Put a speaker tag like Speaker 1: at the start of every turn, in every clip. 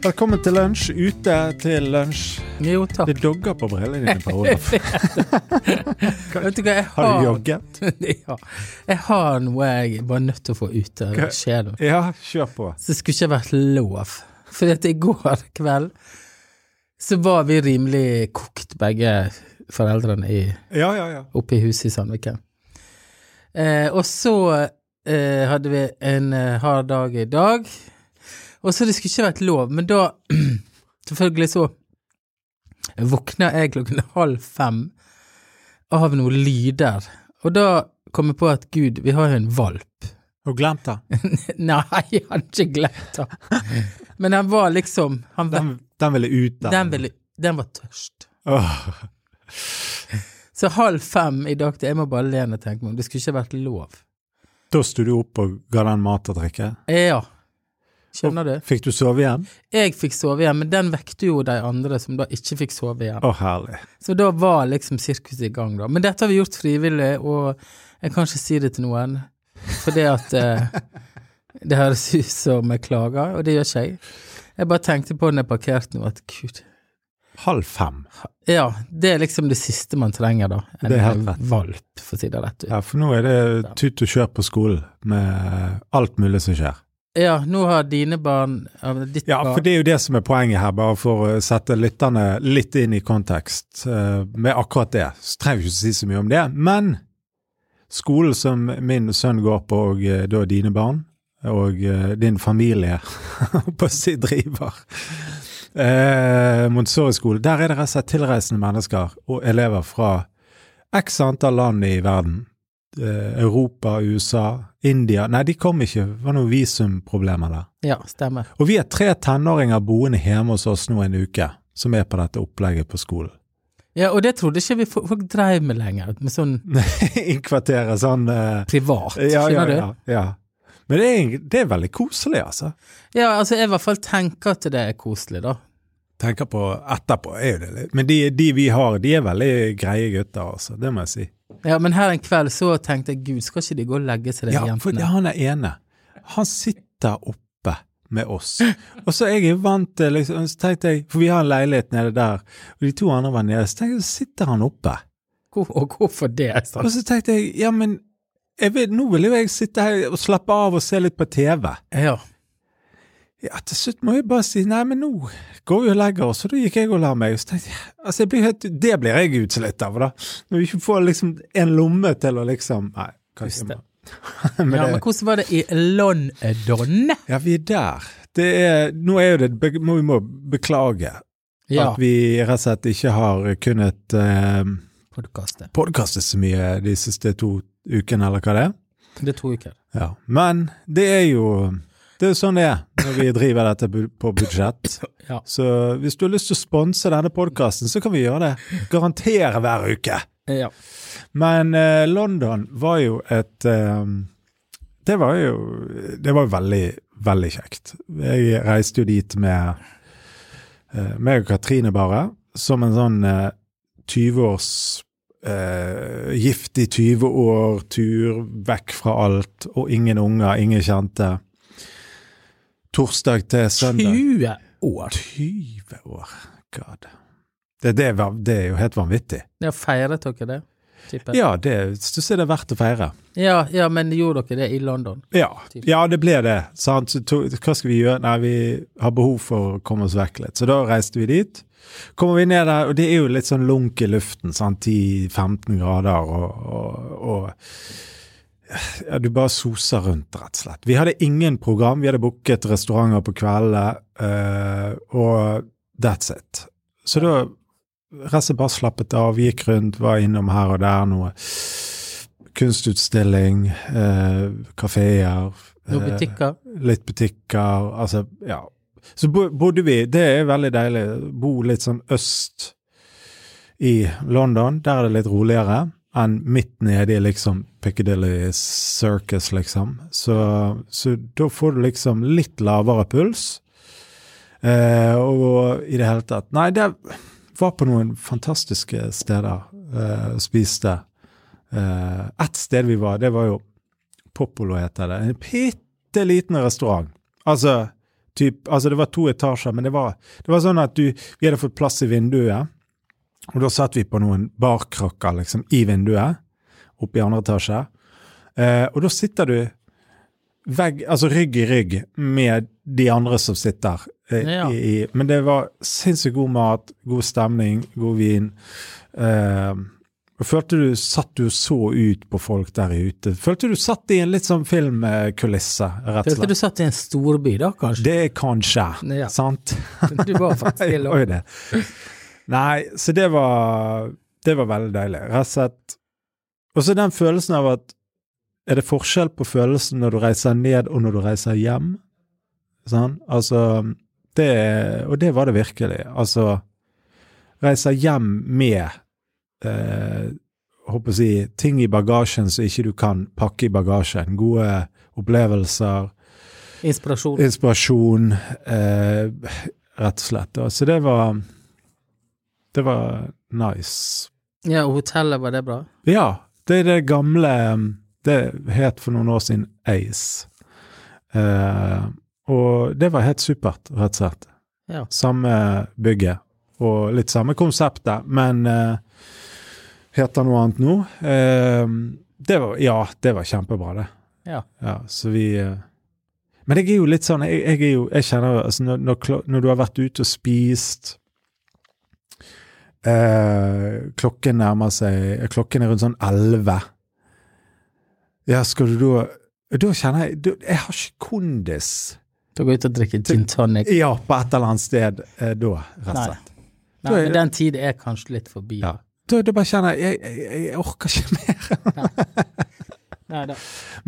Speaker 1: Velkommen til lunsj. Ute til lunsj.
Speaker 2: Jo, takk.
Speaker 1: Det dogger på brillene dine, Per Olaf.
Speaker 2: Vet du hva, jeg har,
Speaker 1: Har du jogget?
Speaker 2: ja. Jeg har noe jeg bare er nødt til å få ut av
Speaker 1: Hva?
Speaker 2: sjelen.
Speaker 1: Ja, kjør på.
Speaker 2: Så det skulle ikke vært lov. For i går kveld så var vi rimelig kokt, begge foreldrene, i,
Speaker 1: Ja, ja, ja.
Speaker 2: oppe i huset i Sandviken. Eh, og så eh, hadde vi en eh, hard dag i dag, og så det skulle ikke vært lov. Men da, selvfølgelig så våkna jeg klokken halv fem av noen lyder. Og da kom jeg på at gud, vi har jo en valp.
Speaker 1: Og glemt den.
Speaker 2: Nei, jeg hadde ikke glemt den. Men den var liksom han, den,
Speaker 1: Den, den ville ut, den.
Speaker 2: ville, den var tørst.
Speaker 1: Åh,
Speaker 2: Så halv fem i dag Jeg må bare le når jeg tenker meg om. Det skulle ikke vært lov.
Speaker 1: da sto du opp og ga den mat og drikke.
Speaker 2: Ja. Skjønner du?
Speaker 1: Fikk du sove igjen?
Speaker 2: Jeg fikk sove igjen, men den vekte jo de andre som da ikke fikk sove igjen.
Speaker 1: Å, herlig.
Speaker 2: Så da var liksom sirkuset i gang, da. Men dette har vi gjort frivillig, og jeg kan ikke si det til noen. Fordi at eh, det høres ut som jeg klager, og det gjør ikke jeg. Jeg bare tenkte på når jeg parkerte nå, at gud
Speaker 1: Halv fem.
Speaker 2: Ja, det er liksom det siste man trenger, da. En
Speaker 1: Det er helt rett.
Speaker 2: valp, for å si det rett ut. Ja.
Speaker 1: Ja, for nå er det tut og kjør på skolen med alt mulig som skjer.
Speaker 2: nå har dine barn ja, Ditt
Speaker 1: Ja,
Speaker 2: barn
Speaker 1: for det er jo det som er poenget her, bare for å sette lytterne litt inn i kontekst eh, med akkurat det. Så trenger vi ikke si så mye om det. Men skolen som min sønn går på, og eh, da dine barn, og eh, din familie på å si driver eh, Montessori-skole, der er det rett og slett tilreisende mennesker og elever fra x antall land i verden. Eh, Europa, USA, India Nei, de kom ikke. Det var noen visumproblemer der.
Speaker 2: Ja, stemmer.
Speaker 1: Og vi er tre tenåringer boende hjemme hos oss nå en uke, som er på dette opplegget på skolen.
Speaker 2: Ja, og det trodde ikke vi fo- folk dreiv med lenger, med sånn
Speaker 1: Innkvartere sånn eh,
Speaker 2: privat,
Speaker 1: ja, ja,
Speaker 2: skjønner
Speaker 1: ja, ja. Men det er, det er veldig koselig, altså.
Speaker 2: du? Ja, altså jeg i hvert fall tenker at det er koselig, da.
Speaker 1: Tenker på etterpå, er jo det litt Men de, de vi har, de er veldig greie gutter, altså. Det må jeg si.
Speaker 2: Ja, men her en kveld så tenkte jeg gud, skal ikke de gå og legge seg, de
Speaker 1: Ja, for det,
Speaker 2: jentene?
Speaker 1: han er ene. Han sitter oppe med oss. Og så er jeg jo vant til liksom, så tenkte jeg, For vi har en leilighet nede der, og de to andre var nede. Så tenkte jeg, så sitter han oppe.
Speaker 2: Hvor, og hvorfor det? sa
Speaker 1: Og så tenkte jeg, ja, men jeg vil, nå vil jo jeg sitte her og slappe av og se litt på TV.
Speaker 2: jeg. Ja.
Speaker 1: Ja, til slutt må jeg bare si nei, men nå går vi og legger oss, og da gikk jeg og la meg. Og så tenkte jeg, altså, jeg blir helt, det blir jeg utslitt av, da. Når vi ikke får liksom en lomme til å liksom Nei, kanskje
Speaker 2: Puste.
Speaker 1: jeg må men
Speaker 2: ja, men
Speaker 1: det,
Speaker 2: hvordan var det i London?
Speaker 1: Ja, vi er der. Det er, nå er jo det be- må, Vi må beklage
Speaker 2: Ja,
Speaker 1: at vi rett og slett ikke har kunnet eh,
Speaker 2: podkastet.
Speaker 1: podkaste så mye de siste to ukene, eller hva det er.
Speaker 2: Det er to uker.
Speaker 1: Ja, men det er jo det er jo sånn det er når vi driver dette bu- på budsjett.
Speaker 2: Ja.
Speaker 1: Så hvis du har lyst til å sponse denne podkasten, så kan vi gjøre det. Garantere hver uke.
Speaker 2: ja.
Speaker 1: Men eh, London var jo et eh, Det var jo Det var veldig, veldig kjekt. Jeg reiste jo dit med eh, meg og Katrine bare, som en sånn eh, 20-års eh, Gift i 20 år, tur vekk fra alt, og ingen unger, ingen kjente. Torsdag til søndag.
Speaker 2: 20 år!
Speaker 1: 20 år. God. Det, det, var, det er jo helt vanvittig.
Speaker 2: Ja, feiret dere det? Tipper. jeg.
Speaker 1: Ja, det syns jeg det er verdt å feire.
Speaker 2: Ja, ja, men gjorde dere det i London?
Speaker 1: Ja, ja det ble det. Sant? Så to, hva skal vi gjøre? Nei, vi har behov for å komme oss vekk litt. Så da reiste vi dit. Kommer vi ned der, og det er jo litt sånn lunk i luften. Sant? 10-15 grader og, og, og ja, Du bare soser rundt, rett og slett. Vi hadde ingen program. Vi hadde booket restauranter på kveldene, eh, og that's it. Så da resten bare slappet av, gikk rundt, var innom her og der noe kunstutstilling, eh, kafeer,
Speaker 2: Noen butikker?
Speaker 1: litt butikker, altså, ja. Så bo- bodde vi, det er veldig deilig, bo litt sånn øst i London, der er det litt roligere enn midt nede i liksom Piccadilly Circus, liksom. Så, så da får du liksom litt lavere puls, eh, og i det hele tatt. Nei, det var på noen fantastiske steder eh, og spiste. Eh, Ett sted vi var, det var jo Popolo heter det. En bitte liten restaurant. Altså, typ, altså Det var to etasjer, men det var, det var sånn at du, vi hadde fått plass i vinduet. Og da satt vi på noen barkrakker liksom, i vinduet oppe i andre etasje. Eh, og da sitter du vegg, altså rygg i rygg med de andre som sitter. eh,
Speaker 2: Ja.
Speaker 1: i, i. Men det var sinnssykt god mat, god stemning, god vin. Eh, og følte du satt du så ut på folk der ute? Følte du satt i en litt sånn filmkulisse, rett og
Speaker 2: Følte du
Speaker 1: slett?
Speaker 2: satt i en storby da, kanskje?
Speaker 1: Det er kanskje,
Speaker 2: Ja.
Speaker 1: sant?
Speaker 2: Du var faktisk
Speaker 1: Jeg
Speaker 2: helt
Speaker 1: var jo det. Nei, så det var Det var veldig deilig. Rett og slett Og så den følelsen av at Er det forskjell på følelsen når du reiser ned, og når du reiser hjem? Sånn? Altså det, Og det var det virkelig. Altså Reiser hjem med eh, håper å si, ting i bagasjen som ikke du kan pakke i bagasjen. Gode opplevelser
Speaker 2: Inspirasjon.
Speaker 1: inspirasjon, eh, rett og slett. da. Så det var Det var nice.
Speaker 2: Ja, og hotellet, var det bra?
Speaker 1: Ja, det er det gamle um, Det het for noen år siden Ace. Eh, og det var helt supert, rett og slett.
Speaker 2: Ja.
Speaker 1: Samme bygget og litt samme konseptet, men eh, heter noe annet nå. Eh, det var, ja, det var kjempebra, det.
Speaker 2: Ja.
Speaker 1: så vi eh, Men jeg er jo litt sånn Jeg, jeg, er jo, jeg kjenner jo, altså, når, når, klo- når du har vært ute og spist eh, Klokken nærmer seg Klokken er rundt sånn elleve. Ja, skal du da Da kjenner jeg da, Jeg har ikke kondis
Speaker 2: Til å gå ut og drikke gin tonic.
Speaker 1: ja, på et eller annet sted eh, da, rett og
Speaker 2: Nei.
Speaker 1: slett.
Speaker 2: Nei, men den tid er kanskje litt forbi.
Speaker 1: Ja. Da, da bare kjenner jeg jeg, jeg jeg orker ikke mer.
Speaker 2: Nei da.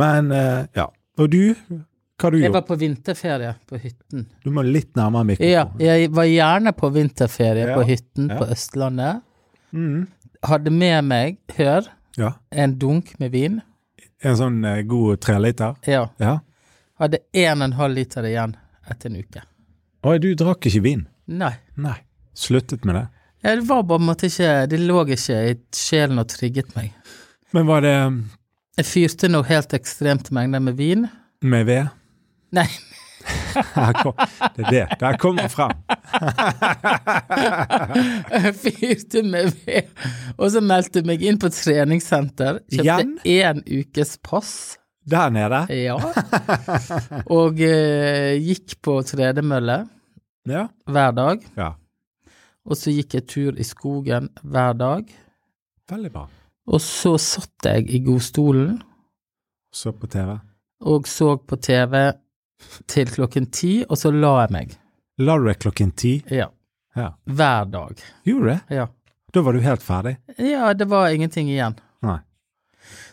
Speaker 1: Men eh, ja. Og du? Hva har du
Speaker 2: Jeg
Speaker 1: gjort?
Speaker 2: var på vinterferie på hytten.
Speaker 1: Du må litt nærmere
Speaker 2: Ja,
Speaker 1: mikrofonen.
Speaker 2: jeg var gjerne på vinterferie
Speaker 1: Ja,
Speaker 2: på hytten
Speaker 1: ja.
Speaker 2: på Østlandet.
Speaker 1: Mm.
Speaker 2: Hadde med meg, hør,
Speaker 1: ja.
Speaker 2: en dunk med vin.
Speaker 1: En sånn eh, god treliter?
Speaker 2: Ja.
Speaker 1: Ja.
Speaker 2: Hadde en og en halv liter igjen etter en uke.
Speaker 1: Oi, du drakk ikke vin?
Speaker 2: Nei.
Speaker 1: Nei. Sluttet med det?
Speaker 2: Ja, det var bare på en måte ikke Det lå ikke i sjelen og trigget meg.
Speaker 1: Men var det mm,
Speaker 2: Jeg fyrte noe helt ekstremt mengder med vin.
Speaker 1: med ved?
Speaker 2: Nei,
Speaker 1: Her kom, det er det. Der kommer frem.
Speaker 2: jeg fyrte med ved. Og så meldte jeg meg inn på treningssenter.
Speaker 1: Igjen?
Speaker 2: Kjøpte én ukes pass.
Speaker 1: Der nede?
Speaker 2: Ja. Og eh, gikk på tredemølle
Speaker 1: Ja.
Speaker 2: hver dag.
Speaker 1: ja.
Speaker 2: Og så gikk jeg tur i skogen hver dag.
Speaker 1: Veldig bra.
Speaker 2: Og så satt jeg i godstolen
Speaker 1: Så på TV.
Speaker 2: og så på TV til klokken ti, og så la jeg meg.
Speaker 1: La du deg klokken ti?
Speaker 2: Ja.
Speaker 1: Ja.
Speaker 2: Hver dag.
Speaker 1: Gjorde du det?
Speaker 2: Ja.
Speaker 1: Da var du helt ferdig?
Speaker 2: ja, det var ingenting igjen.
Speaker 1: Nei.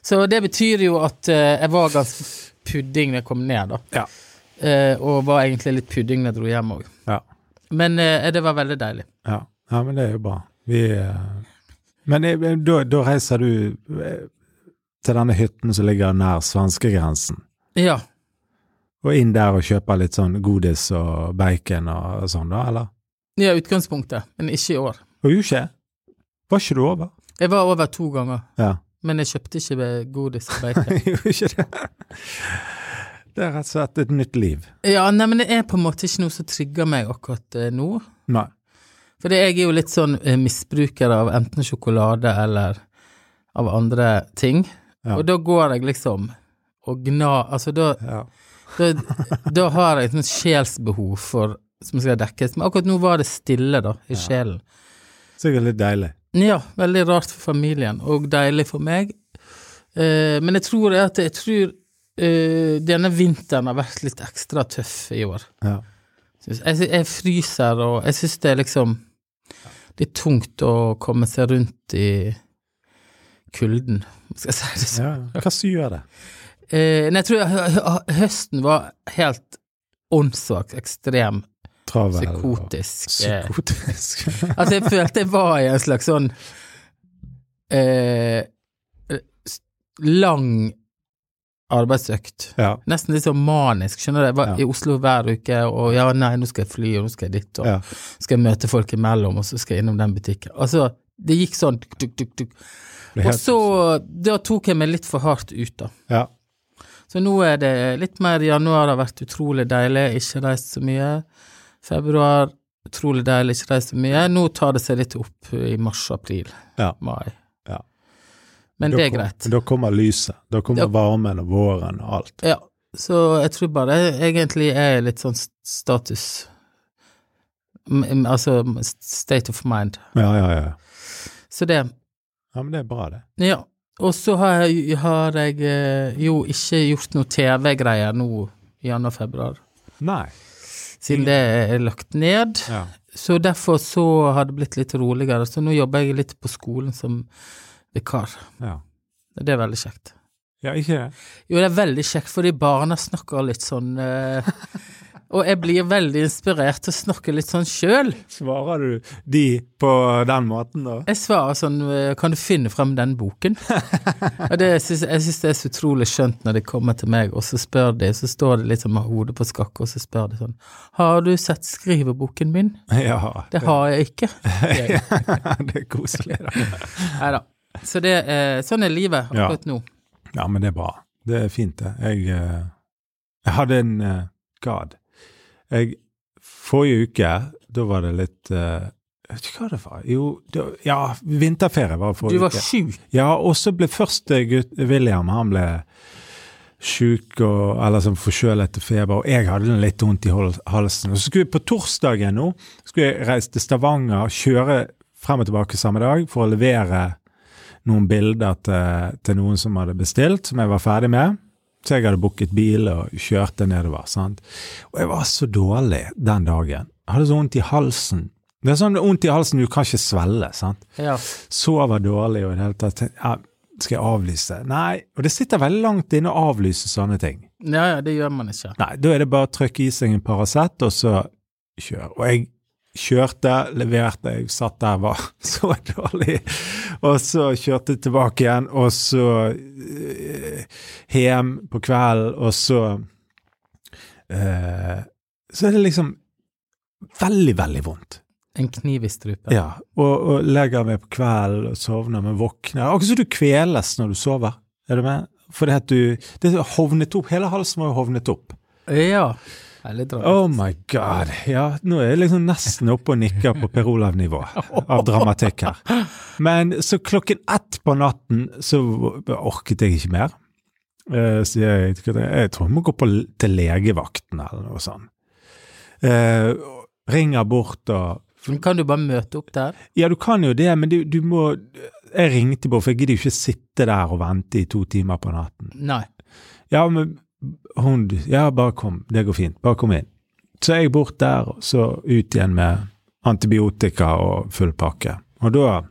Speaker 2: Så det betyr jo at eh, jeg var ganske pudding da jeg kom ned, da.
Speaker 1: Ja.
Speaker 2: Eh, og var egentlig litt pudding da jeg dro hjem òg.
Speaker 1: Ja.
Speaker 2: Men eh, det var veldig deilig.
Speaker 1: Ja, ja men det er jo bra. Vi, eh, men eh, da, da reiser du eh, til denne hytten som ligger nær svenskegrensen,
Speaker 2: Ja.
Speaker 1: og inn der og kjøper litt sånn godis og bacon og sånn, da, eller?
Speaker 2: Ja, utgangspunktet, men ikke i år.
Speaker 1: Og jo ikke. Var ikke du over?
Speaker 2: Jeg var over to ganger,
Speaker 1: Ja.
Speaker 2: men jeg kjøpte ikke godis og bacon.
Speaker 1: Gjorde ikke det. Det er rett og slett et nytt liv.
Speaker 2: ja, nei, men det er på en måte ikke noe som trigger meg akkurat eh, nå.
Speaker 1: Nei.
Speaker 2: For jeg er jo litt sånn eh, misbruker av enten sjokolade eller av andre ting.
Speaker 1: Ja.
Speaker 2: Og da går jeg liksom og gna Altså da,
Speaker 1: Ja.
Speaker 2: da, da har jeg et sånt sjelsbehov for som skal dekkes. Men akkurat nå var det stille, da, i sjelen.
Speaker 1: Sikkert litt deilig.
Speaker 2: Ja, veldig rart for familien, og deilig for meg. Eh, men jeg tror det at jeg tror eh, denne vinteren har vært litt ekstra tøff i år.
Speaker 1: Ja.
Speaker 2: Synes- Jeg, sy- jeg fryser, og jeg syns det er liksom litt tungt å komme seg rundt i kulden, skal jeg si det sånn.
Speaker 1: Ja. Hva som gjør det?
Speaker 2: Eh, nei, jeg tror hø- hø- høsten var helt åndssvakt ekstrem,
Speaker 1: Travel.
Speaker 2: psykotisk. eh,
Speaker 1: Psykotisk.
Speaker 2: Altså, jeg følte jeg var i en slags sånn eh, s- lang arbeidsøkt.
Speaker 1: ja.
Speaker 2: Nesten litt sånn manisk, skjønner du. Jeg var
Speaker 1: Ja.
Speaker 2: i Oslo hver uke, og ja, nei, nå skal jeg fly, og nå skal jeg dit, og
Speaker 1: Ja.
Speaker 2: skal jeg møte folk imellom, og så skal jeg innom den butikken. Altså, det gikk sånn duk, duk, duk, duk.
Speaker 1: Det er
Speaker 2: Og
Speaker 1: helt-
Speaker 2: så, da tok jeg meg litt for hardt ut, da.
Speaker 1: Ja.
Speaker 2: Så nå er det litt mer januar har vært utrolig deilig, ikke reist så mye. Februar utrolig deilig, ikke reist så mye. Nå tar det seg litt opp i mars, april,
Speaker 1: Ja.
Speaker 2: mai.
Speaker 1: Ja.
Speaker 2: Men
Speaker 1: Da
Speaker 2: det er
Speaker 1: kom-
Speaker 2: greit.
Speaker 1: Da kommer lyset. Da kommer
Speaker 2: Ja.
Speaker 1: varmen og våren og alt.
Speaker 2: Ja, så jeg tror bare jeg egentlig er litt sånn st- status M- m- Altså m- state of mind.
Speaker 1: Ja, ja, ja.
Speaker 2: Så det
Speaker 1: Ja, Men det er bra, det.
Speaker 2: Ja. Og så har jeg, har jeg eh, jo ikke gjort noe TV-greier nå i januar-februar,
Speaker 1: Nei.
Speaker 2: siden det er lagt ned.
Speaker 1: Ja.
Speaker 2: Så derfor så har det blitt litt roligere. Så nå jobber jeg litt på skolen som vikar.
Speaker 1: Ja,
Speaker 2: Det er veldig kjekt.
Speaker 1: ja ikke det?
Speaker 2: Jo, det er veldig kjekt, fordi barna snakker litt sånn eh, Og jeg blir veldig inspirert til å snakke litt sånn sjøl.
Speaker 1: Svarer du de på den måten, da?
Speaker 2: Jeg svarer sånn eh, Kan du finne frem den boken? Og det, syns- jeg syns det er så utrolig skjønt når de kommer til meg, og så spør de, så står de liksom med hodet på skakke, og så spør de sånn Har du sett skriveboken min?
Speaker 1: Ja.
Speaker 2: Det har jeg ikke.
Speaker 1: det er koselig, da.
Speaker 2: Nei da. Så det er, sånn er livet
Speaker 1: Ja.
Speaker 2: akkurat nå.
Speaker 1: Ja, men det er bra. Det er fint, det. Jeg, eh, jeg hadde en eh, God. Jeg, forrige uke, da var det litt eh, Jeg vet ikke hva det var. Jo, det, ja, vinterferie var
Speaker 2: Du
Speaker 1: forrige
Speaker 2: var
Speaker 1: uke.
Speaker 2: sjuk.
Speaker 1: Ja, og så ble først eh, gutt, William han ble sjuk og eller sånn forkjølet og feber, og jeg hadde litt vondt i hol- halsen. Og så skulle vi på torsdagen nå skulle jeg reise til Stavanger, kjøre frem og tilbake samme dag for å levere noen bilder til, til noen som hadde bestilt, som jeg var ferdig med. Så jeg hadde booket bil og kjørte nedover. sant? Og jeg var så dårlig den dagen. Jeg hadde så vondt i halsen. Det er sånn vondt i halsen du kan ikke svelle. sant?
Speaker 2: Ja.
Speaker 1: sover dårlig og i det hele tatt tenkte, ja, Skal jeg avlyse? Nei. Og det sitter veldig langt inne å avlyse sånne ting.
Speaker 2: ja, ja, det gjør man ikke.
Speaker 1: Nei, da er det bare å trykke i seg en Paracet, og så kjør. Og jeg kjørte, leverte, jeg satt der, var så dårlig. Og så kjørte jeg tilbake igjen, og så eh, hjem på kvelden, og så eh, Så er det liksom veldig, veldig vondt.
Speaker 2: En kniv i strupen.
Speaker 1: Ja, og, og legger meg på kvelden og sovner, men våkner. Akkurat som du kveles når du sover. Er du med? Fordi at du Det er hovnet opp. Hele halsen var jo hovnet opp.
Speaker 2: Ja. Veldig dramatisk.
Speaker 1: Oh my god. Ja, nå er jeg liksom nesten oppe og nikker på Per Olav-nivå av dramatikk her. Men så klokken ett på natten så orket jeg ikke mer. Eh, Så jeg, jeg tror jeg må gå på, til legevakten eller noe sånt. Eh, ringer bort og
Speaker 2: Men kan du bare møte opp der?
Speaker 1: Ja, du kan jo det, men du, du må Jeg ringte på, for jeg gidder jo ikke sitte der og vente i to timer på natten.
Speaker 2: Nei.
Speaker 1: Ja, men hun Ja, bare kom. Det går fint. Bare kom inn. Så er jeg bort der, og så ut igjen med antibiotika og full pakke. Og da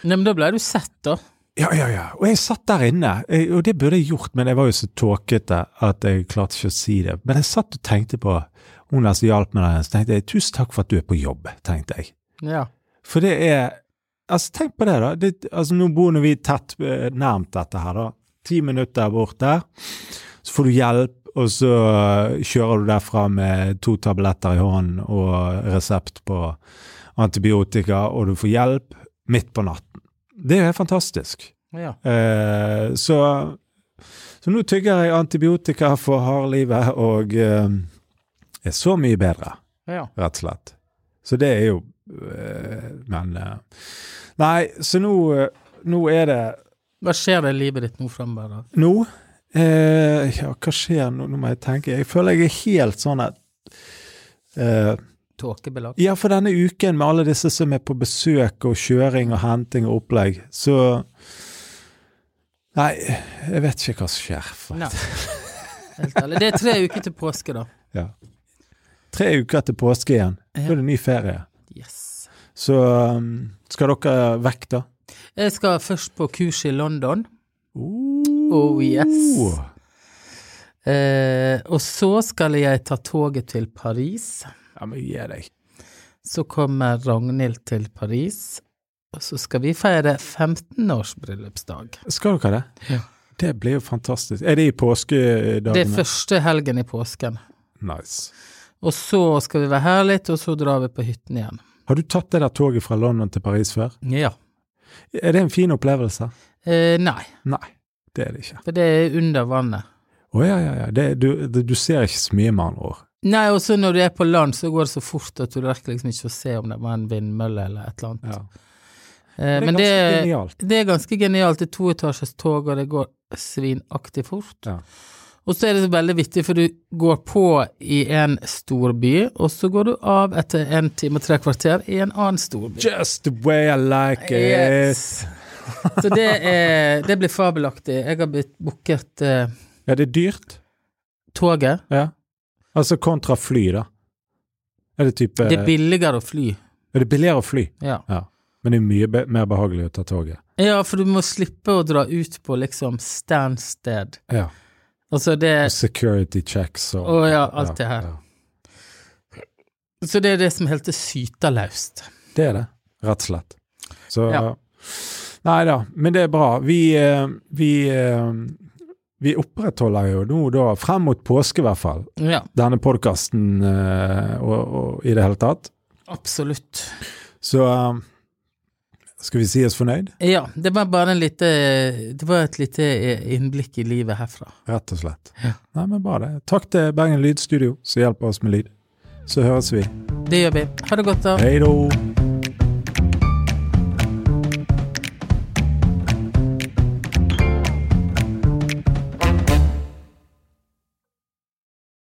Speaker 2: Nei, men da ble du sett, da.
Speaker 1: Ja, ja, ja. Og jeg satt der inne, eh, og det burde jeg gjort, men jeg var jo så tåkete at jeg klarte ikke å si det. Men jeg satt og tenkte på hun der som hjalp meg der, så tenkte jeg tusen takk for at du er på jobb, tenkte jeg.
Speaker 2: Ja.
Speaker 1: For det er Altså, tenk på det, da. Det, altså, nå bor nå vi tett eh, nærmt dette her, da. Ti minutter bort der. Så får du hjelp, og så eh, kjører du derfra med to tabletter i hånden og resept på antibiotika, og du får hjelp midt på natten. Det er jo helt fantastisk.
Speaker 2: ja.
Speaker 1: Eh, så, så nå tygger jeg antibiotika for hardlivet, og eh, er så mye bedre
Speaker 2: ja.
Speaker 1: rett og slett. Så det er jo øh, Men øh, Nei, så nå, øh, nå er det
Speaker 2: Hva skjer i livet ditt nå framover, da?
Speaker 1: Nå eh, Ja, hva skjer nå? Nå må jeg tenke. Jeg føler jeg er helt sånn at eh,
Speaker 2: Tåkebelagt?
Speaker 1: Ja, for denne uken med alle disse som er på besøk og kjøring og henting og opplegg, så Nei, jeg vet ikke hva som skjer. For.
Speaker 2: Nei. Helt ærlig. Det er tre uker til påske, da.
Speaker 1: Ja. Tre uker til påske igjen. Da er det ny ferie.
Speaker 2: Yes.
Speaker 1: Så øh, skal dere vekk, da?
Speaker 2: Jeg skal først på kurs i London. Oh yes. Eh, og så skal jeg ta toget til Paris.
Speaker 1: Ja, men gi deg.
Speaker 2: Så kommer Ragnhild til Paris. Og så skal vi feire 15-årsbryllupsdag.
Speaker 1: Skal dere det?
Speaker 2: Ja.
Speaker 1: Det blir jo fantastisk. Er det i påskedagene?
Speaker 2: Det er første helgen i påsken.
Speaker 1: Nice.
Speaker 2: Og så skal vi være her litt, og så drar vi på hytten igjen.
Speaker 1: Har du tatt det der toget fra London til Paris før?
Speaker 2: Ja.
Speaker 1: Er det en fin opplevelse?
Speaker 2: Eh, nei.
Speaker 1: Nei. Det er det ikke.
Speaker 2: For det er under vannet.
Speaker 1: Å ja, ja, ja. Det, du, det, du ser ikke så mye, med andre ord.
Speaker 2: Nei, også når du er på land, så går det så fort at du rekker liksom ikke å se om det var en vindmølle eller et eller annet.
Speaker 1: Ja.
Speaker 2: Eh,
Speaker 1: Det er
Speaker 2: men det,
Speaker 1: ganske genialt.
Speaker 2: det er ganske genialt. Det er toetasjes tog, og det går svinaktig fort.
Speaker 1: Ja.
Speaker 2: Og så er det så veldig vittig, for du går på i en stor by, og så går du av etter en time og tre kvarter i en annen stor by.
Speaker 1: Just the way I like it.
Speaker 2: Yes. Så det, er, det blir fabelaktig. Jeg har blitt booket eh,
Speaker 1: Ja, det er dyrt.
Speaker 2: toget.
Speaker 1: Ja. Altså kontra fly, da. Er det type
Speaker 2: Det er billigere å fly.
Speaker 1: Er det billigere å fly?
Speaker 2: Ja.
Speaker 1: Ja. Men det er mye be mer behagelig å ta toget.
Speaker 2: ja, for du må slippe å dra ut på liksom standsted.
Speaker 1: Ja.
Speaker 2: Altså det
Speaker 1: Security checks og
Speaker 2: Å ja, alt det her.
Speaker 1: ja.
Speaker 2: Så det er det som heter syterlaust.
Speaker 1: Det er det, rett og slett. Så
Speaker 2: Ja.
Speaker 1: ja. Nei da, men det er bra. Vi, eh, vi, eh, vi opprettholder jo nå da, frem mot påske i hvert fall,
Speaker 2: Ja,
Speaker 1: denne podkasten og, og i det hele tatt.
Speaker 2: absolutt.
Speaker 1: Så eh, skal vi si oss fornøyd?
Speaker 2: Ja, det var bare en lite Det var et lite eh, innblikk i livet herfra.
Speaker 1: Rett og slett.
Speaker 2: Ja.
Speaker 1: Nei, men bra det. Takk til Bergen Lydstudio, som hjelper oss med lyd. Så høres vi.
Speaker 2: Det gjør vi. Ha det godt, da.
Speaker 1: Hei då!